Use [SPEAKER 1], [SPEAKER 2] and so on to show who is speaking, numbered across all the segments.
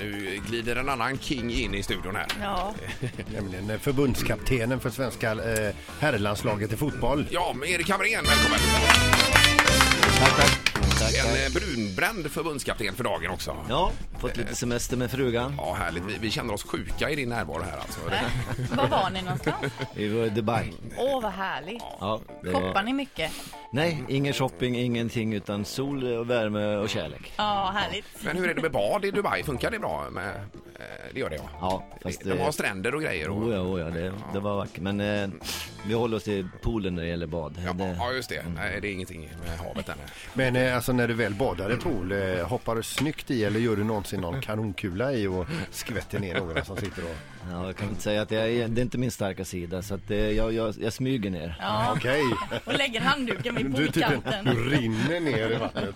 [SPEAKER 1] Nu glider en annan king in i studion här.
[SPEAKER 2] Ja,
[SPEAKER 3] Nämligen eh, förbundskaptenen för svenska eh, herrlandslaget i fotboll.
[SPEAKER 1] Ja, men Erik Hamrén, välkommen!
[SPEAKER 4] Tack, tack. tack,
[SPEAKER 1] En
[SPEAKER 4] tack.
[SPEAKER 1] eh, brunbränd förbundskapten för dagen också.
[SPEAKER 4] Ja, fått lite semester med frugan.
[SPEAKER 1] Ja, härligt. Vi, vi känner oss sjuka i din närvaro här alltså.
[SPEAKER 2] var var ni någonstans?
[SPEAKER 4] Vi var i Dubai.
[SPEAKER 2] Åh, vad härligt.
[SPEAKER 4] Ja, det
[SPEAKER 2] Shoppar
[SPEAKER 4] var...
[SPEAKER 2] ni mycket?
[SPEAKER 4] Nej, ingen shopping, ingenting, utan sol, och värme och kärlek.
[SPEAKER 2] Ja, härligt.
[SPEAKER 1] Men hur är det med bad i Dubai? Funkar det bra? Med, eh, det gör det ja.
[SPEAKER 4] Ja, fast...
[SPEAKER 1] De
[SPEAKER 4] eh,
[SPEAKER 1] har stränder och grejer. Och,
[SPEAKER 4] Oh ja, oh ja, det, det var vackert. Men eh, vi håller oss till poolen när det gäller bad.
[SPEAKER 1] ja,
[SPEAKER 4] Det, Mm.
[SPEAKER 1] ja, just det. Nej, det är ingenting med havet än.
[SPEAKER 3] Men eh, alltså när du väl badar i pool, eh, hoppar du snyggt i eller gör du någonsin någon kanonkula i och skvätter ner några som sitter och...
[SPEAKER 4] ja, jag kan inte säga att jag, är- det är inte min starka sida, så att, eh, jag, jag, jag smyger ner.
[SPEAKER 2] Ja,
[SPEAKER 3] Okej.
[SPEAKER 2] och lägger handduken vid
[SPEAKER 3] Du, typ,
[SPEAKER 2] poolkanten.
[SPEAKER 3] du rinner ner i vattnet.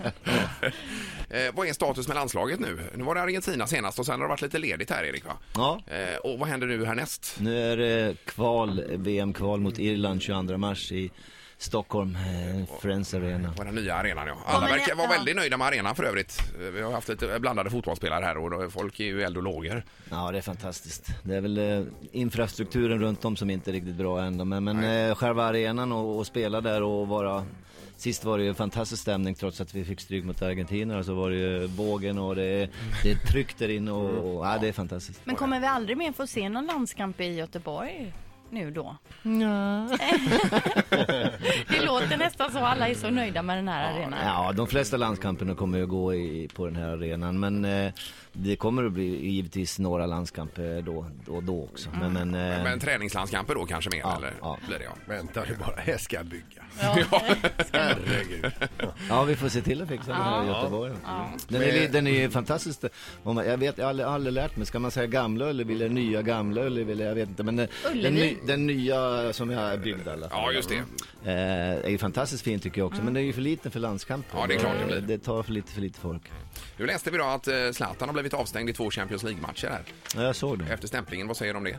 [SPEAKER 1] Eh, vad är status med landslaget nu? Nu var det Argentina senast och sen har det varit lite ledigt här Erik va?
[SPEAKER 4] Ja.
[SPEAKER 1] Eh, och vad händer nu härnäst?
[SPEAKER 4] Nu är det kval, VM-kval mot Irland 22 mars i Stockholm, eh, Friends Arena.
[SPEAKER 1] På den nya arenan ja. Alla
[SPEAKER 2] men
[SPEAKER 1] verkar vara
[SPEAKER 2] ja.
[SPEAKER 1] väldigt nöjda med arenan för övrigt. Eh, Vi har haft lite blandade fotbollsspelare här och då- folk är ju eld och lågor.
[SPEAKER 4] Ja, det är fantastiskt. Det är väl eh, infrastrukturen runt om som inte är riktigt bra ändå. Men, men eh, själva arenan och, och spela där och vara... Sist var det ju en fantastisk stämning trots att vi fick stryk mot Argentina. Så var det ju vågen och det, det är tryck där inne och, och ja, det är fantastiskt.
[SPEAKER 2] Men kommer vi aldrig mer få se någon landskamp i Göteborg? Nu då? det låter nästan så. Alla är så nöjda med den här arenan.
[SPEAKER 4] Ja, de flesta landskamperna kommer ju att gå i, på den här arenan. Men eh, det kommer att bli givetvis några landskamper då och då också. Men, men, eh,
[SPEAKER 1] Men träningslandskamper då kanske mer
[SPEAKER 4] Ja,
[SPEAKER 1] eller?
[SPEAKER 4] ja.
[SPEAKER 1] Blir det, ja.
[SPEAKER 3] Vänta det bara, här ska byggas. Herregud.
[SPEAKER 4] Ja, vi får se till att fixa den här i Göteborg. Mm. Den, är, den är ju fantastisk. Om man- Jag vet, jag har aldrig, aldrig lärt mig, ska man säga gamla Ullevi eller nya gamla Ullevi? eller Jag vet inte, men den, den, ny, den nya som jag är byggd i alla fall.
[SPEAKER 1] Ja, just det.
[SPEAKER 4] Eh, är ju fantastiskt fin tycker jag också, men den är ju för liten för landskamper.
[SPEAKER 1] Ja, det är klart det blir.
[SPEAKER 4] Det tar för lite, för lite folk.
[SPEAKER 1] Nu läste vi då att eh, Zlatan har blivit avstängd i två Champions League-matcher här.
[SPEAKER 4] Ja, jag såg det.
[SPEAKER 1] Efter stämplingen, vad säger du om det?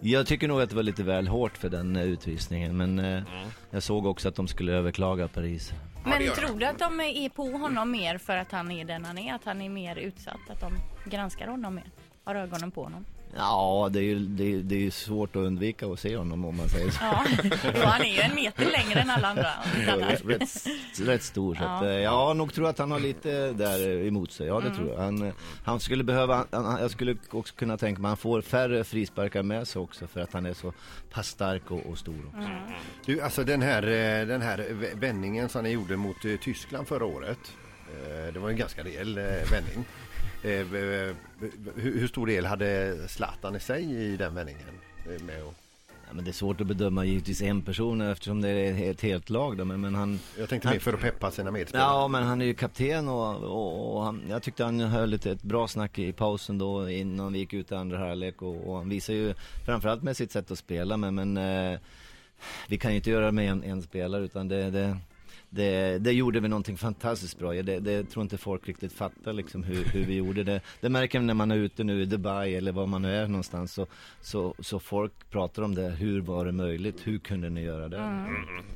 [SPEAKER 4] Jag tycker nog att det var lite väl hårt för den eh, utvisningen, men eh,
[SPEAKER 1] Mm.
[SPEAKER 4] jag såg också att de skulle överklaga Paris.
[SPEAKER 1] Ja, det
[SPEAKER 2] Men
[SPEAKER 1] gör
[SPEAKER 2] tror du att de är på honom mer för att han är den han är? Att han är mer utsatt? Att de granskar honom mer? Har ögonen på honom?
[SPEAKER 4] Ja, det är ju det är, det är ju svårt att undvika att se honom om man säger så.
[SPEAKER 2] Ja, Jo, han är ju en meter längre än alla andra.
[SPEAKER 4] Ja, rätt, rätt, rätt stor. Så att, eh, ja, nog tror jag att han har lite där eh, emot sig. Ja, det tror jag. Han, eh, han skulle behöva, han, han, jag skulle också kunna tänka mig, han får färre frisparkar med sig också för att han är så pass stark och, och stor också.
[SPEAKER 3] Du, alltså den här, eh, den här vä- vändningen som ni gjorde mot eh, Tyskland förra året. eh, Det var ju en ganska rejäl eh, vändning. Eh, v- v- Hur hur stor del hade Zlatan i sig i den vändningen? Eh, Med att-
[SPEAKER 4] Ja, men det är svårt att bedöma givetvis en person eftersom det är ett helt lag då, men, men han...
[SPEAKER 3] Jag tänkte mer för att peppa sina medspelare.
[SPEAKER 4] Ja, men han är ju kapten och, och, och han, jag tyckte han höll lite, ett bra snack i pausen då innan vi gick ut i andra halvlek och, och han visar ju framförallt med sitt sätt att spela men, men eh, vi kan ju inte göra det med en, en spelare utan det, det, det, det gjorde vi någonting fantastiskt bra. Det, det tror inte folk riktigt fattar liksom hur, hur vi gjorde det. Det märker man när man är ute nu i Dubai eller var man nu är någonstans så, så, så folk pratar om det. Hur var det möjligt? Hur kunde ni göra det?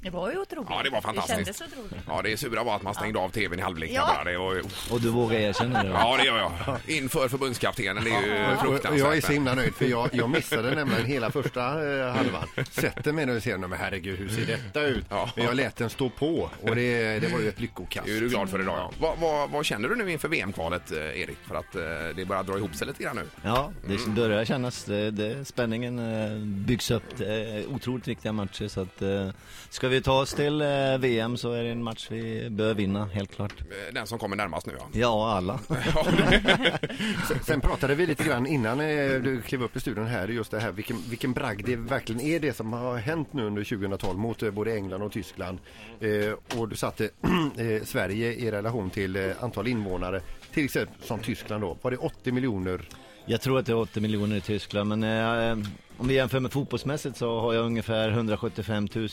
[SPEAKER 2] Det var ju otroligt.
[SPEAKER 1] Ja, det var fantastiskt.
[SPEAKER 2] Det kändes otroligt.
[SPEAKER 1] Ja, det sura var att man stängde av tvn i halvlek.
[SPEAKER 2] Ja.
[SPEAKER 1] Bara. Det var,
[SPEAKER 4] Och du vågar erkänna det? va?
[SPEAKER 1] ja, det gör jag. Inför förbundskaptenen, det är ju
[SPEAKER 3] Och- och Jag är
[SPEAKER 1] fruktansvärt.
[SPEAKER 3] så himla nöjd för jag, jag missade nämligen hela första eh, halvan. Sätter mig nu och ser men herregud hur ser detta ut?
[SPEAKER 1] Ja.
[SPEAKER 3] Men jag lät den stå på och det, det var ju ett lyckokast.
[SPEAKER 1] Det är du glad för idag. Ja. Vad, vad, vad känner du nu inför VM-kvalet, eh, Erik? För att eh, det börjar dra ihop sig lite grann nu.
[SPEAKER 4] Ja, det börjar kännas. Det, det, spänningen eh, byggs upp. Det är otroligt viktiga matcher. Så att, eh, ska vi ta oss till eh, VM så är det en match vi bör vinna, helt klart.
[SPEAKER 1] Eh, Den som kommer närmast nu, ja.
[SPEAKER 4] Ja, alla.
[SPEAKER 3] Sen- Sen pratade vi lite grann innan eh, du klev upp i studion här, just det här vilken, vilken bragd det verkligen är det som har hänt nu under 2012 mot eh, både England och Tyskland. Eh, och du satte eh, Sverige i relation till eh, antal invånare, till exempel som Tyskland då, var det 80 miljoner?
[SPEAKER 4] Jag tror att det är 80 miljoner i Tyskland, men eh, om vi jämför med fotbollsmässigt så har jag ungefär 175 000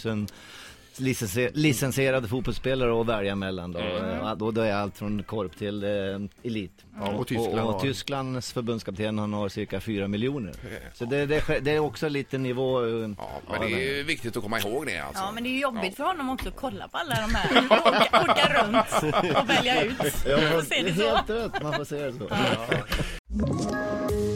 [SPEAKER 4] license- licensierade fotbollsspelare att välja mellan. Då. Eh, och då är allt från korp till eh, elit.
[SPEAKER 3] Ja, och Tyskland
[SPEAKER 4] och,
[SPEAKER 3] har-
[SPEAKER 4] och Tysklands förbundskapten han har cirka 4 miljoner. Så det, det, sk- det är också lite nivå. eh,
[SPEAKER 1] ja men det är ju viktigt att komma ihåg det alltså.
[SPEAKER 2] Ja, men det är ju jobbigt för honom också att kolla på alla de här. Åka, åka runt och välja ut.
[SPEAKER 4] Ja,
[SPEAKER 2] Och se det så.
[SPEAKER 4] helt rätt, man får se det så.